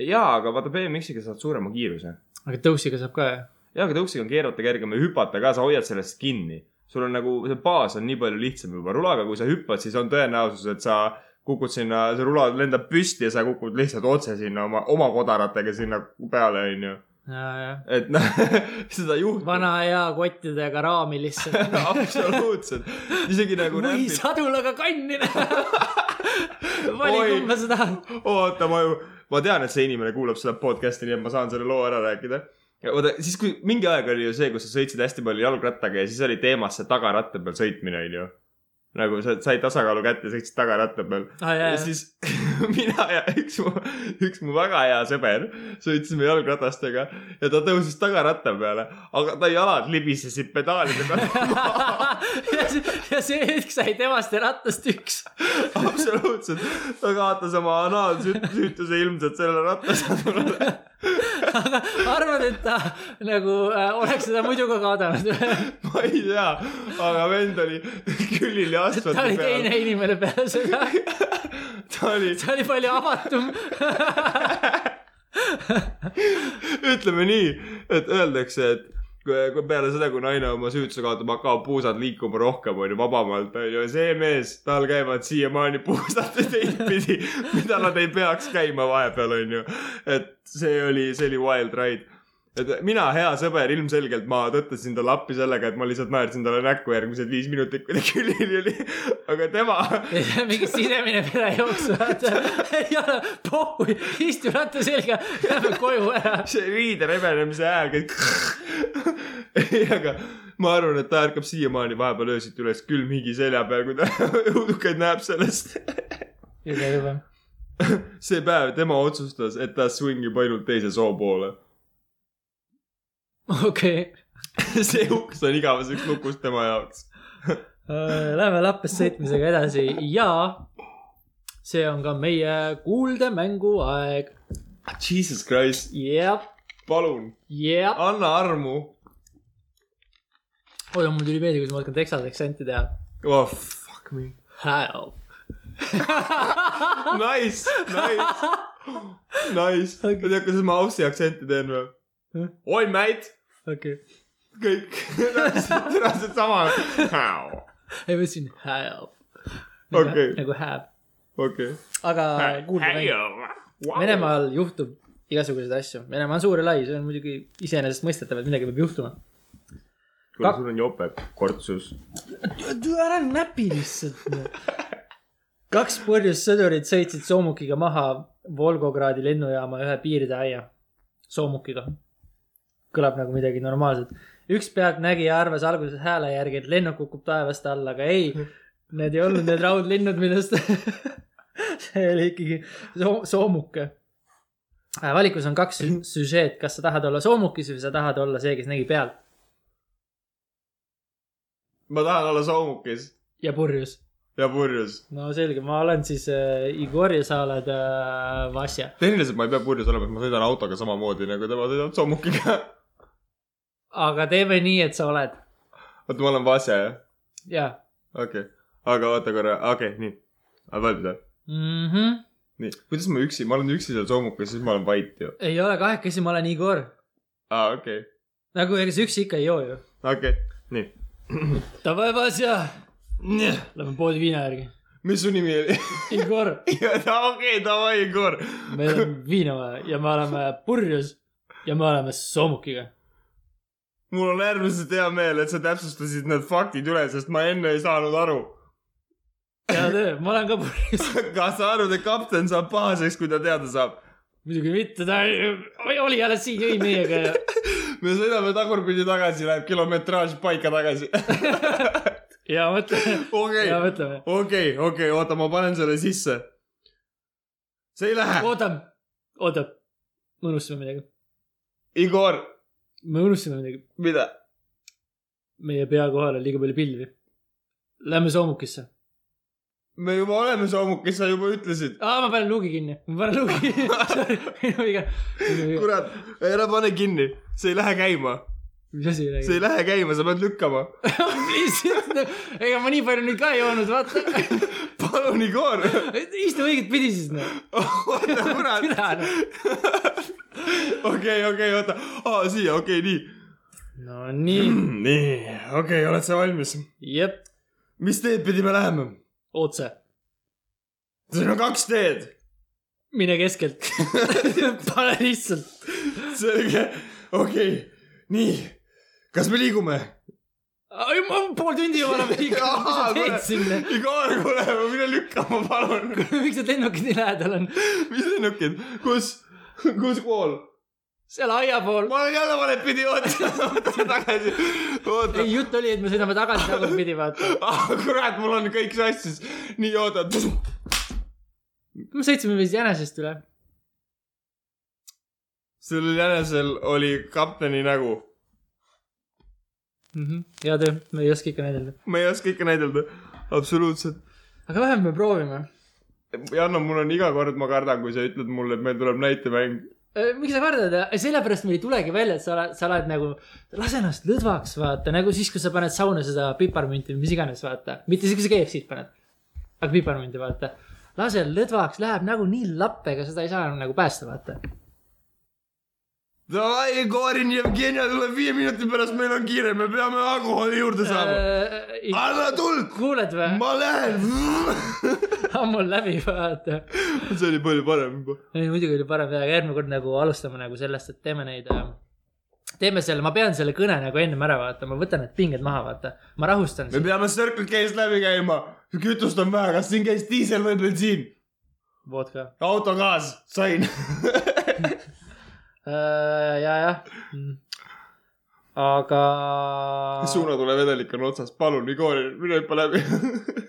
jaa , aga vaata BMX-iga saad suurema kiiruse .
aga tõusiga saab ka ju .
jaa , aga tõuksiga on keerata kergem ja hüpata ka , sa hoiad sellest kinni . sul on nagu , see baas on nii palju lihtsam juba , rulaga , kui sa hüppad , siis on tõenäosus , et sa kukud sinna , see rula lendab püsti ja sa kukud lihtsalt otse sinna oma , oma kodaratega sinna peale , onju
ja , ja .
et noh , seda juhtub .
vana hea kottidega raami lihtsalt .
absoluutselt , isegi nagu
või
näpid ,
sadulaga kannina . vali
Oi. ,
kumba sa tahad .
Oh, oota , ma ju , ma tean , et see inimene kuulab seda podcast'i , nii et ma saan selle loo ära rääkida . oota , siis kui mingi aeg oli ju see , kus sa sõitsid hästi palju jalgrattaga ja siis oli teemas see tagaratta peal sõitmine , onju . nagu sa said tasakaalu kätte , sõitsid tagaratta peal .
Ah, jaa,
ja
jaa.
siis mina ja üks mu , üks mu väga hea sõber sõitsime jalgratastega ja ta tõusis tagaratta peale , aga ta jalad libisesid pedaalide peal
ja see , ja see hetk sai temast ja rattast üks .
absoluutselt , ta kaotas oma anaalsüütuse ilmselt selle rattasadulale .
aga arvad , et ta nagu äh, oleks seda muidu ka kaotanud või ?
ma ei tea , aga vend oli külili
ta
asfaldi
oli
peal .
teine inimene peale seda ,
ta oli ,
ta oli palju avatum .
ütleme nii , et öeldakse , et kui, kui peale seda , kui naine oma süütuse kaotab , hakkavad puusad liikuma rohkem , onju , vabamalt , onju , see mees , tal käivad siiamaani puusad teistpidi , mida nad ei peaks käima vahepeal , onju . et see oli , see oli wild ride et mina , hea sõber , ilmselgelt ma tõttasin talle appi sellega , et ma lihtsalt naersin talle näkku järgmised viis minutit , kui ta külili oli . aga tema ,
mingi sisemine perejooks , vaata . ei ole , pohhui , istu ratta selga , lähme koju ära .
see riide rebenemise hääl kõik . ei , aga ma arvan , et ta ärkab siiamaani vahepeal öösiti üles külm higi selja peal , kui ta õudukaid näeb sellest .
juba , juba .
see päev tema otsustas , et ta swingib ainult teise soo poole .
okei okay. ,
see uks on igaveseks lukus tema jaoks .
Äh, lähme lappes sõitmisega edasi ja see on ka meie kuuldemängu aeg .
Jesus Christ ,
jah ,
palun ,
jah .
anna armu .
oota , mul tuli meelde , kuidas ma hakkan Texase aktsenti teha .
oh fuck me .
Help .
Nice , nice . Nice , ma ei tea , kuidas ma Aussie aktsenti teen või
Jah. ?
oi , mate ,
okei ,
kõik täpselt täpselt sama .
ei ma ütlesin hääb .
Okei.
nagu hääb ,
okei .
aga
Äh,
Äh, kuulge mäng , Venemaal juhtub igasuguseid asju , Venemaa on suur ja lai , see on muidugi iseenesestmõistetav , et midagi peab juhtuma .
kuule , sul on jopek , kortsus .
Äh, ära näpi lihtsalt . kaks purjus sõdurit sõitsid soomukiga maha Volgogradi lennujaama ühe piirdeaia , soomukiga . kõlab nagu midagi normaalset . üks pealtnägija arvas alguses hääle järgi , et lennuk kukub taevast alla , aga ei , need ei olnud need raudlinnud , millest see oli ikkagi soo- soomuke . valikus on kaks sü- süžeed , kas sa tahad olla soomukis või sa tahad olla see , kes nägi pealt
ma tahan olla soomukis
ja purjus
ja purjus .
no selge , ma olen siis äh, Igor ja sa oled äh, Vasja .
tehniliselt ma ei pea purjus olema , ma sõidan autoga samamoodi nagu tema sõidab soomukiga .
aga teeme nii , et sa oled ,
oota , ma olen Vase , jah ?
jah
okei okay. , aga oota korra , okei okay, , nii . valmida .
mm . -hmm.
nii , kuidas ma üksi , ma olen üksi seal soomukas , siis ma olen vait ju .
ei ole kahekesi , ma olen Igor .
aa , okei okay. ,
nagu ega sa üksi ikka ei joo ju .
okei okay. , nii .
Davai , Vasja , lähme poodi viina järgi .
mis su nimi oli ?
Igor ,
okei , davai , Igor .
meil on viina vaja ja me oleme purjus ja me oleme soomukiga .
mul on äärmiselt hea meel , et sa täpsustasid need faktid üle , sest ma enne ei saanud aru .
hea töö , ma olen ka purjus .
kas sa arvad , et kapten saab pahaseks , kui ta teada saab ?
muidugi mitte , ta oli- oli alles siin , jõi meiega ja
me sõidame tagurpidi tagasi , läheb kilometraaž paika tagasi .
ja mõtleme ,
okei ,
ja mõtleme .
okei , okei , oota , ma panen selle sisse . see ei lähe .
oota , oota , me unustasime midagi ,
Igor ,
me unustasime midagi .
mida ?
meie pea kohal on liiga palju pilvi . Lähme soomukisse .
me juba oleme soomukis , sa juba ütlesid .
aa , ma panen luugi kinni , ma panen luugi kinni . minu viga , minu viga .
kurat , ära pane kinni , see ei lähe käima ,
mis asi
see ei
oli ?
lähe käima , sa pead lükkama .
lihtsalt , noh? ega ma nii palju nüüd ka ei joonud , vaata .
palun , Igor .
istu õigetpidi siis noh . noh.
oota , kurat . okei , okei , oota , siia , okei , nii .
Nonii ,
nii , okei , oled sa valmis ?
jep ,
mis teed pidi me läheme ?
otse ,
siin on kaks teed .
mine keskelt . pane lihtsalt .
selge , okei , nii . kas me liigume ?
pool tundi juba oleme liikunud , mis sa teed sinna ?
Igor , kuule , mine lükkama , palun .
miks need lennukid nii lähedal on ?
mis lennukid , kus , kus pool ?
seal aia pool .
ma olen jälle valet pidi , oota , tagasi , oota
ei ,. jutt oli , et me sõidame tagasi tagurpidi , vaata .
ah kurat , mul on kõik sassis . nii , oota .
me sõitsime vist jänesest üle .
sellel jänesel oli kapteni nägu .
Mhm. hea töö , me ei oska ikka näidelda .
ma ei oska ikka näidelda , absoluutselt .
aga vähemalt me proovime .
Janno , mul on iga kord , ma kardan , kui sa ütled mulle , et meil tuleb näitemäng .
Äh, miks sa kardad , sellepärast meil ei tulegi välja , et sa oled , sa oled nagu , lase ennast lõdvaks , vaata nagu siis , kui sa paned sauna seda piparmünti või mis iganes , vaata , mitte siis , kui sa KFC-d paned . aga piparmünti , vaata , lase lõdvaks , läheb nagu nii lappega , seda ei saa enam nagu päästa , vaata .
Davai , Igorin , Jevgenia tuleb viie minuti pärast , meil on kiire , me peame alkoholi juurde saama . anna tuld ,
Äh, kuuled või ?
ma lähen .
ammu on läbi , vaata .
see oli palju parem juba .
ei , muidugi oli parem teha , aga järgmine kord nagu alustame nagu sellest , et teeme neid , teeme selle , ma pean selle kõne nagu ennem ära vaatama , võtan need pinged maha , vaata , ma rahustan
me
sind .
peame Circle K-st läbi käima . kütust on vähe , kas siin käis diisel või bensiin ?
vodka .
autogaas , sain
Äh, ja , jah . aga
suunatulevedelik on otsas , palun , Igor , mine hüppa läbi .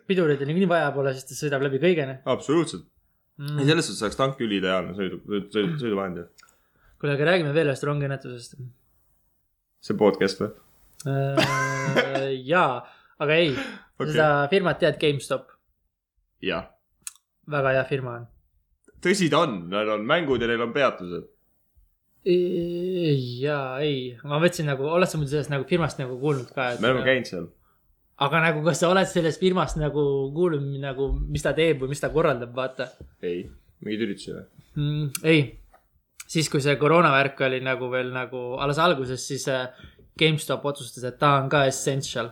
pidurit on niikuinii vaja pole , sest ta sõidab läbi kõigene
absoluutselt ,
mm. .
selles suhtes oleks tank üliideaalne sõidu , sõidu , sõiduvahend ju .
kuule , aga räägime veel ühest rongiõnnetusest .
see podcast või ?
Äh, jaa , aga ei okay. ,
Okei.
seda firmat tead , GameStop ,
jah ,
väga hea firma on .
tõsi ta on , neil on mängud ja neil on peatused .
jaa , ei , ma mõtlesin nagu , oled sa muidu sellest nagu firmast nagu kuulnud ka , et .
me oleme käinud seal .
aga nagu , kas sa oled sellest firmast nagu kuulnud nagu , mis ta teeb või mis ta korraldab , vaata .
ei , mingeid üritusi või ?
mm, . ei , siis kui see koroona värk oli nagu veel nagu alles alguses , siis äh, GameStop otsustas , et ta on ka essential .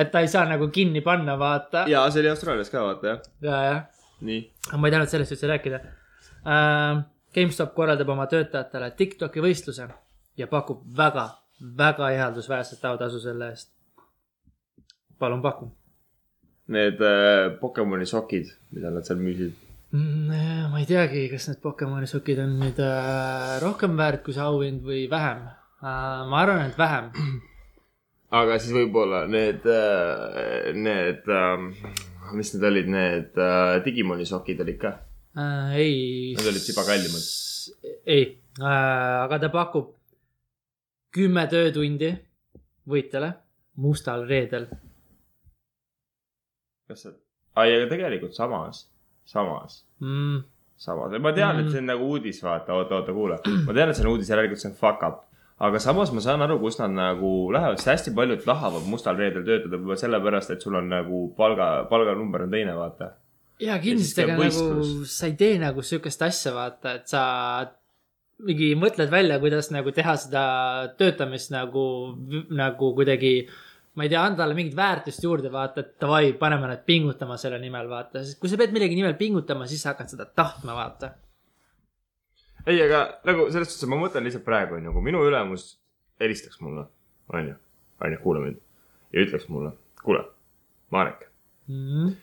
et ta ei saa nagu kinni panna , vaata . ja ,
jaa , see oli Austraalias ka , vaata jah .
jah .
nii .
ma ei tahtnud sellest üldse rääkida uh, . GameStop korraldab oma töötajatele Tiktoki võistluse ja pakub väga , väga ihaldusväärset autasu selle eest . palun paku
Need äh, Pokemoni sokid , mida nad seal müüsid .
mm, . ma ei teagi , kas need Pokemoni sokid on nüüd uh, rohkem väärt kui see auhind või vähem uh, . ma arvan , et vähem .
aga siis võib-olla need äh, , need äh, , mis need olid , need äh, Digimoni sokid olid ka .
Uh, ei .
Nad olid tiba kallimad. .
ei uh, , aga ta pakub kümme töötundi võitjale mustal reedel .
kas see , ai , aga tegelikult samas , samas ,
Mm,
samas , ma tean , et see on nagu uudis , vaata , oota , oota , kuule . ma tean , et see on uudis , järelikult see on fuck up . aga samas ma saan aru , kus nad nagu lähevad , sest hästi paljud lahavad mustal reedel töötada juba sellepärast , et sul on nagu palga , palganumber on teine , vaata .
ja
siis
kindlasti ,
käib
aga nagu
võistlus.
sa ei tee nagu sihukest asja , vaata , et sa mingi mõtled välja , kuidas nagu teha seda töötamist nagu , nagu kuidagi . ma ei tea , anda talle mingit väärtust juurde , vaata , et davai , paneme nad pingutama selle nimel , vaata , sest kui sa pead millegi nimel pingutama , siis sa hakkad seda tahtma , vaata .
ei , aga nagu selles suhtes , ma mõtlen lihtsalt praegu onju , kui minu ülemus helistaks mulle , onju , onju , kuula mind ja ütleks mulle , kuule , Marek ,
Mhm.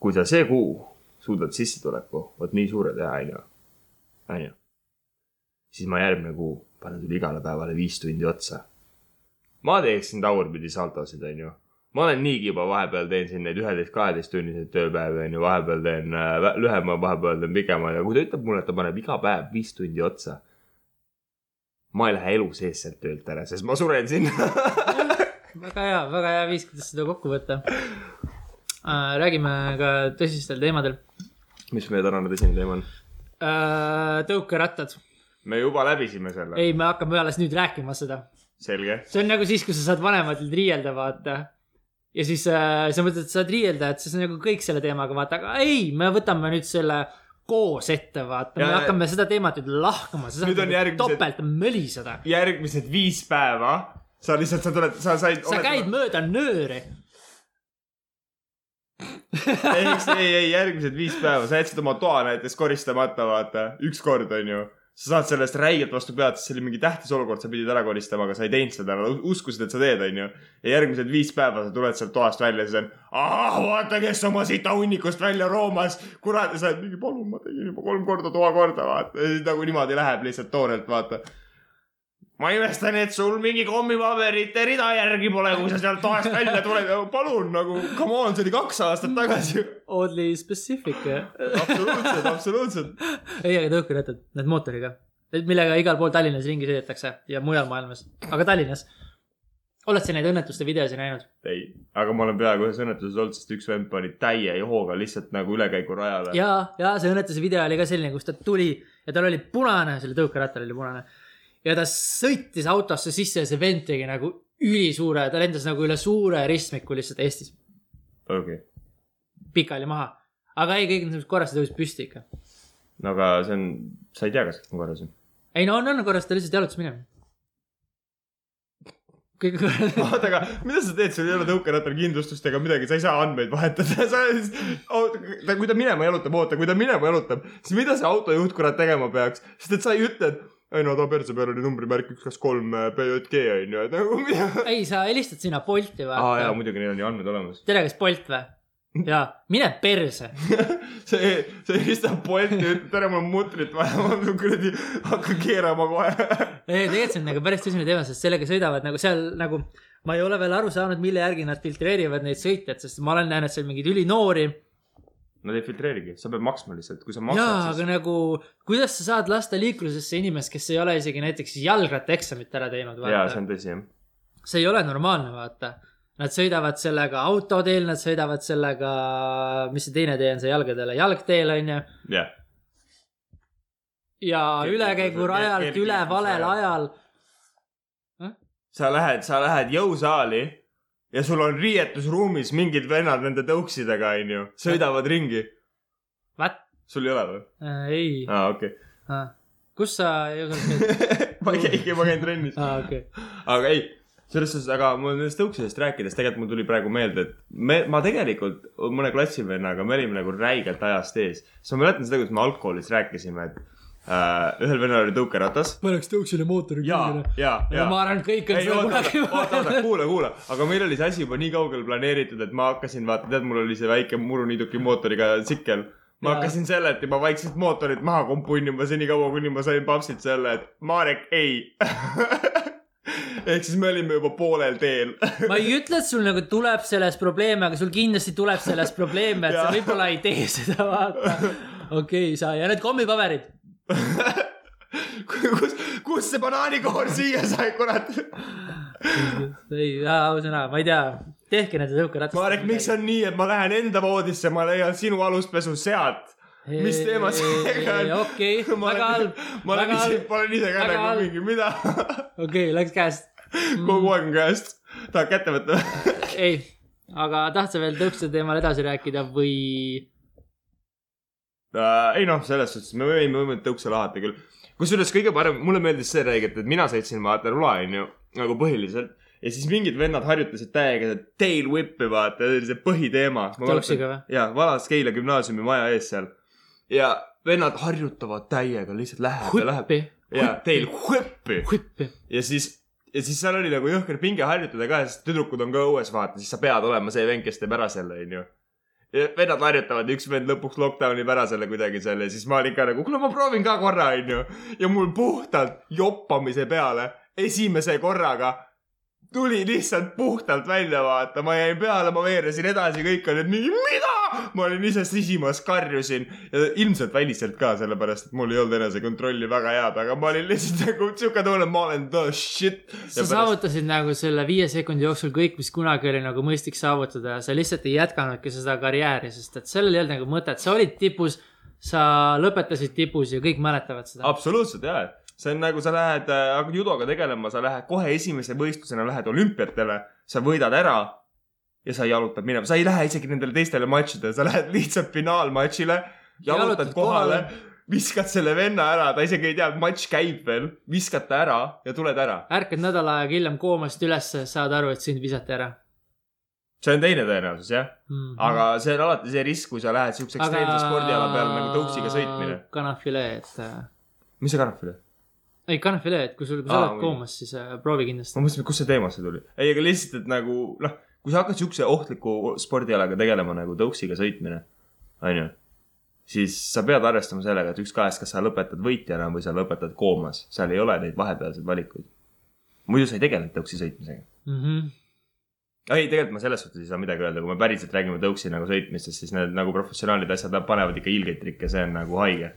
kui sa see kuu suudad sissetuleku vot nii suure teha , onju , onju , siis ma järgmine kuu panen sulle igale päevale viis tundi otsa . ma teeksin tagurpidi saltosid , onju . ma olen niigi juba vahepeal teen siin neid üheteist , kaheteisttunniseid tööpäevi , onju , vahepeal teen äh, vä- lühema , vahepeal teen pikema ja kui ta ütleb mulle , et ta paneb iga päev viis tundi otsa , ma ei lähe elu sees sealt töölt ära , sest ma suren sinna .
väga hea , väga hea viis , kuidas seda kokku võtta . räägime ka tõsistel teemadel .
mis meie tänane tõsine teema on ?
Äh, tõukerattad ,
me juba läbisime selle .
ei , me hakkame alles nüüd rääkima seda
selge .
see on nagu siis , kui sa saad vanematelt riielda , vaata . ja siis äh, sa mõtled , et saad riielda , et siis on nagu kõik selle teemaga , vaata , aga ei , me võtame nüüd selle koos ette , vaata , me
Ja-
hakkame seda teemat nüüd lahkama , sa
Nüüd
saad
on
nagu
järgmised-
topelt möliseda .
järgmised viis päeva , sa lihtsalt , sa tuled , sa said .
sa käid mööda nööri .
ei , ei , ei järgmised viis päeva , sa jätsid oma toa näiteks koristamata , vaata , ükskord onju . sa saad sellest räigelt vastu pead , sest see oli mingi tähtis olukord , sa pidid ära koristama , aga sa ei teinud seda , uskusid , et sa teed , onju . ja järgmised viis päeva sa tuled sealt toast välja , siis on ahah , vaata , kes oma sita hunnikust välja roomas . kurat , ja sa oled mingi , palun , ma tegin juba kolm korda toa korda , vaata . ja siis nagu niimoodi läheb lihtsalt toorelt , vaata . ma imestan , et sul mingi kommipaberite rida järgi pole , kui sa sealt toast välja tuled . palun nagu , come on , see oli kaks aastat tagasi ju
Oddly specific .
absoluutselt , absoluutselt .
ei , aga tõukerattad , need mootoriga , millega igal pool Tallinnas ringi sõidetakse ja mujal maailmas , aga Tallinnas . oled sa neid õnnetuste videosi näinud ?
ei , aga ma olen peaaegu ühes õnnetuses olnud , sest üks vend pani täie hooga lihtsalt nagu ülekäigurajale .
ja , ja see õnnetuse video oli ka selline , kus ta tuli ja tal oli punane , selle tõukerattal oli punane . ja ta sõitis autosse sisse ja see vend tegi nagu ülisuure , ta lendas nagu üle suure ristmiku lihtsalt Eestis
okei okay. ,
pikali maha . aga ei , kõik need korras ta tõusis püsti ikka .
no aga see on , sa ei tea , kas ma korras olen ?
ei no on , on korras , ta lihtsalt jalutas minema . kõik korras .
oota , aga mida sa teed , sul ei ole tõukerattal kindlustust ega midagi , sa ei saa andmeid vahetada , sa siis , oota , kui ta minema jalutab , oota , kui ta minema jalutab , siis mida see autojuht kurat tegema peaks , sest et sa ei ütle , et ei no ta perse peal oli numbrimärk üks , kaks , kolm PJG onju , et nagu mida .
ei , sa helistad sinna Bolti või
aa jaa ,? muidugi neil on ju andmed olemas .
tere , kas Bolt või ? jaa , mine perse .
see , see helistab Bolti ja ütleb , tere , mul on mutrit vaja , ma pean kuradi , hakkan keerama kohe .
ei , tegelikult see on nagu päris tõsine teema , sest sellega sõidavad nagu seal nagu , ma ei ole veel aru saanud , mille järgi nad filtreerivad neid sõite , et sest ma olen näinud seal mingeid ülinoori .
Nad ei filtreerigi , sa pead maksma lihtsalt , kui sa
jaa ,
maksad ,
aga
siis
nagu , kuidas sa saad lasta liiklusesse inimest , kes ei ole isegi näiteks jalgrattaeksamit ära teinud ,
jaa , see
vaata .
on tõsi jah .
see ei ole normaalne , vaata . Nad sõidavad sellega autoteel , nad sõidavad sellega , mis see teine tee on , see jalgadele , jalgteel on ju .
jah ,
ja
Kergliiklus-
ülekäigurajalt ,
kergliiklusrajal.
üle valel ajal .
sa lähed , sa lähed jõusaali ja sul on riietusruumis mingid vennad nende tõuksidega , onju , sõidavad ringi .
What ?
sul ei ole või ?
äh, . ei
aa , okei .
ah. . kus sa jõudnud nüüd ?
ma käin , ma käin trennis .
aa , Ah, okei okay. .
aga ei , selles suhtes , aga mul nendest tõuksidest rääkides tegelikult mul tuli praegu meelde , et me , ma tegelikult mõne klassivennaga , me olime nagu räigelt ajast ees . siis ma mäletan seda , kuidas me algkoolis rääkisime , et äh, ühel vennal oli tõukeratas .
paneks tõuksile mootori noh.
ja , ja , ja .
ma arvan , et kõik on
ei oota , oota , oota , kuula , kuula , aga meil oli see asi juba nii kaugel planeeritud , et ma hakkasin , vaata , tead , mul oli see väike muruniiduki mootoriga tsikkel . ma
Jaa.
hakkasin sellelt juba vaikselt mootorit maha kompunnima senikaua , kuni ma sain papsilt selle , et Marek , ei . ehk siis me olime juba poolel teel .
ma ei ütle , et sul nagu tuleb selles probleeme , aga sul kindlasti tuleb selles probleeme , et sa
Jaa.
võib-olla ei tee seda , vaata . okei okay, , sa ja need kommipaberid .
kus , kus see banaanikoor siia sai , kurat ?
ei , ausõna , ma ei tea , tehke nende tõukeratast .
Marek , miks on nii , et ma lähen enda voodisse , ma leian sinu aluspesu sealt ? mis teema seega on ?
okei , väga halb ,
ma olen
väga
ise ,
halb ,
ma olen ise ka
väga halb. Mm.
nagu mingi , mida
okei , läks käest .
kogu aeg on käest , tahad kätte võtta ?
ei , aga tahtsa veel tõukside teemal edasi rääkida või ?
ei noh , selles suhtes me võime , me võime tõukse lahata küll . kusjuures kõige parem , mulle meeldis see reegel , et mina sõitsin vaata rula onju , nagu põhiliselt ja siis mingid vennad harjutasid täiega seda tail whip'i vaata , see oli see põhiteema .
Tõuksiga või? ?
jaa , Vana-Skeila gümnaasiumi maja ees seal ja vennad harjutavad täiega , lihtsalt läheb ja läheb
hüppi ,
ja tail whip'i
hüppi .
ja siis , ja siis seal oli nagu jõhker pinge harjutada ka , sest tüdrukud on ka õues , vaata , siis sa pead olema see vend , kes teeb ära selle , onju . vennad harjutavad ja üks vend lõpuks lockdown ib ära selle kuidagi seal ja siis ma olin ka nagu , kuule , ma proovin ka korra , onju . ja mul puhtalt joppamise peale esimese korraga tuli lihtsalt puhtalt välja , vaata , ma jäin peale , ma veeresin edasi , kõik olid mingi , mida ? ma olin ise sisimas , karjusin ja ilmselt väliselt ka , sellepärast et mul ei olnud enesekontrolli väga head , aga ma olin lihtsalt nagu siuke tunne , et ma olen the shit .
sa pärast... saavutasid nagu selle viie sekundi jooksul kõik , mis kunagi oli nagu mõistlik saavutada ja sa lihtsalt ei jätkanudki seda karjääri , sest et sellel ei olnud nagu mõtet , sa olid tipus , sa lõpetasid tipus ja kõik mäletavad seda .
absoluutselt jaa , see on nagu sa lähed , hakkad judoga tegelema , sa lähed kohe esimese võistlusena lähed olümpiatele , sa võidad ära ja sa jalutad minema , sa ei lähe isegi nendele teistele matšidele , sa lähed lihtsalt finaalmatšile , jalutad
Jalutad
kohale,
kohale.
kohale , viskad selle venna ära , ta isegi ei tea , et matš käib veel , viskad ta ära ja tuled ära .
ärkad nädal aega hiljem koomast ülesse , saad aru , et sind visati ära
see on teine tõenäosus jah ,
mm .
aga see on alati see risk , kui sa lähed siukse ekstreemse spordiala peale nagu tõuksiga sõitmine ..
kanafilee , et äh,
mis see kanapile ?
ei kanafilee , et kui sul , kui sa
Aa,
oled
või-
koomas , siis äh, proovi kindlasti .
ma mõtlesin , et kust see teemasse tuli . ei , aga lihtsalt , et nagu noh , kui sa hakkad siukse ohtliku spordialaga tegelema nagu tõuksiga sõitmine , onju . siis sa pead arvestama sellega , et ükskõik , kas sa lõpetad võitjana või sa lõpetad koomas , seal ei ole neid vahepealseid valikuid . muidu sa ei tegele tõuksi sõitmisega .
Mm -hmm.
ei , tegelikult ma selles suhtes ei saa midagi öelda , kui me päriselt räägime tõuksi nagu sõitmistest , siis need nagu professionaalid asjad nad panevad ikka ilgeid trikke , see on nagu haige .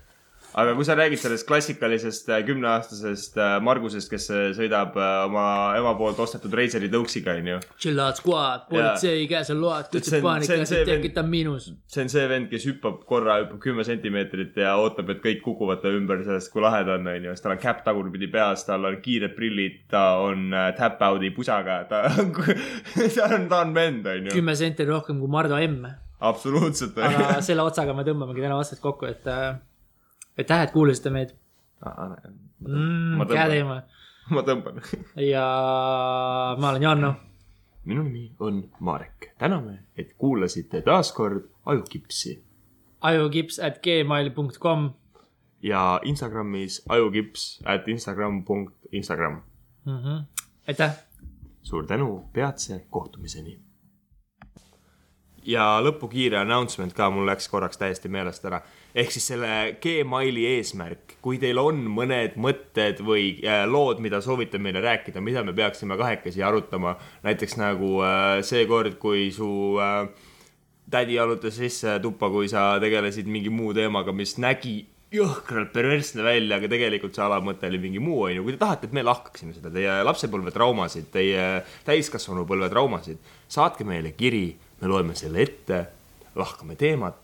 aga kui sa räägid sellest klassikalisest äh, kümneaastasest äh, Margusest , kes äh, sõidab äh, oma ema poolt ostetud Razeri tõuksiga , onju .
Chill out squad , politsei käes on load ,
see
kutsub
on- see on
paanikat
see
ja
vend-
tekitab miinus .
see on see vend , kes hüppab korra , hüppab kümme sentimeetrit ja ootab , et kõik kukuvad ta ümber sellest , kui lahe ta on , onju . siis tal on käpp tagurpidi peas , tal on kiired prillid , ta on äh, tap-out'i pusaga , ta on , ta on , ta on vend , onju .
kümme senti rohkem kui Mardu M
absoluutselt .
aga selle otsaga me tõmbamegi täna otsad kokku , et , et aitäh , et kuulasite meid mm,
Ma . Ah, tõmban.
hea teema
ma tõmban .
ja ma olen Janno .
minu nimi on Marek , täname , et kuulasite taas kord Ajukipsi
ajukips at gmail punkt kom
ja Instagramis ajukips at instagram punkt Instagram .
mm . -hmm. aitäh ,
suur tänu peatse kohtumiseni . ja lõpukiire announcement ka , mul läks korraks täiesti meelest ära . ehk siis selle Gmaili eesmärk , kui teil on mõned mõtted või äh, lood , mida soovite meile rääkida , mida me peaksime kahekesi arutama , näiteks nagu äh, seekord , kui su äh, tädi jalutas sisse tuppa , kui sa tegelesid mingi muu teemaga , mis nägi jõhkralt perversne välja , aga tegelikult see alamõte oli mingi muu , onju . kui te tahate , et me lahkaksime seda , teie lapsepõlve traumasid , teie täiskasvanupõlve traumasid , saatke meile kiri , me loeme selle ette , lahkame teemat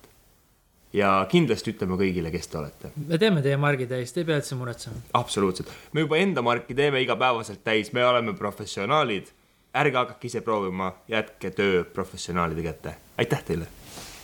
ja kindlasti ütleme kõigile , kes te olete .
me teeme teie margi täis , te ei pea üldse muretsema .
absoluutselt , me juba enda marki teeme igapäevaselt täis , me oleme professionaalid . ärge hakake ise proovima , jätke töö professionaalide kätte . aitäh teile .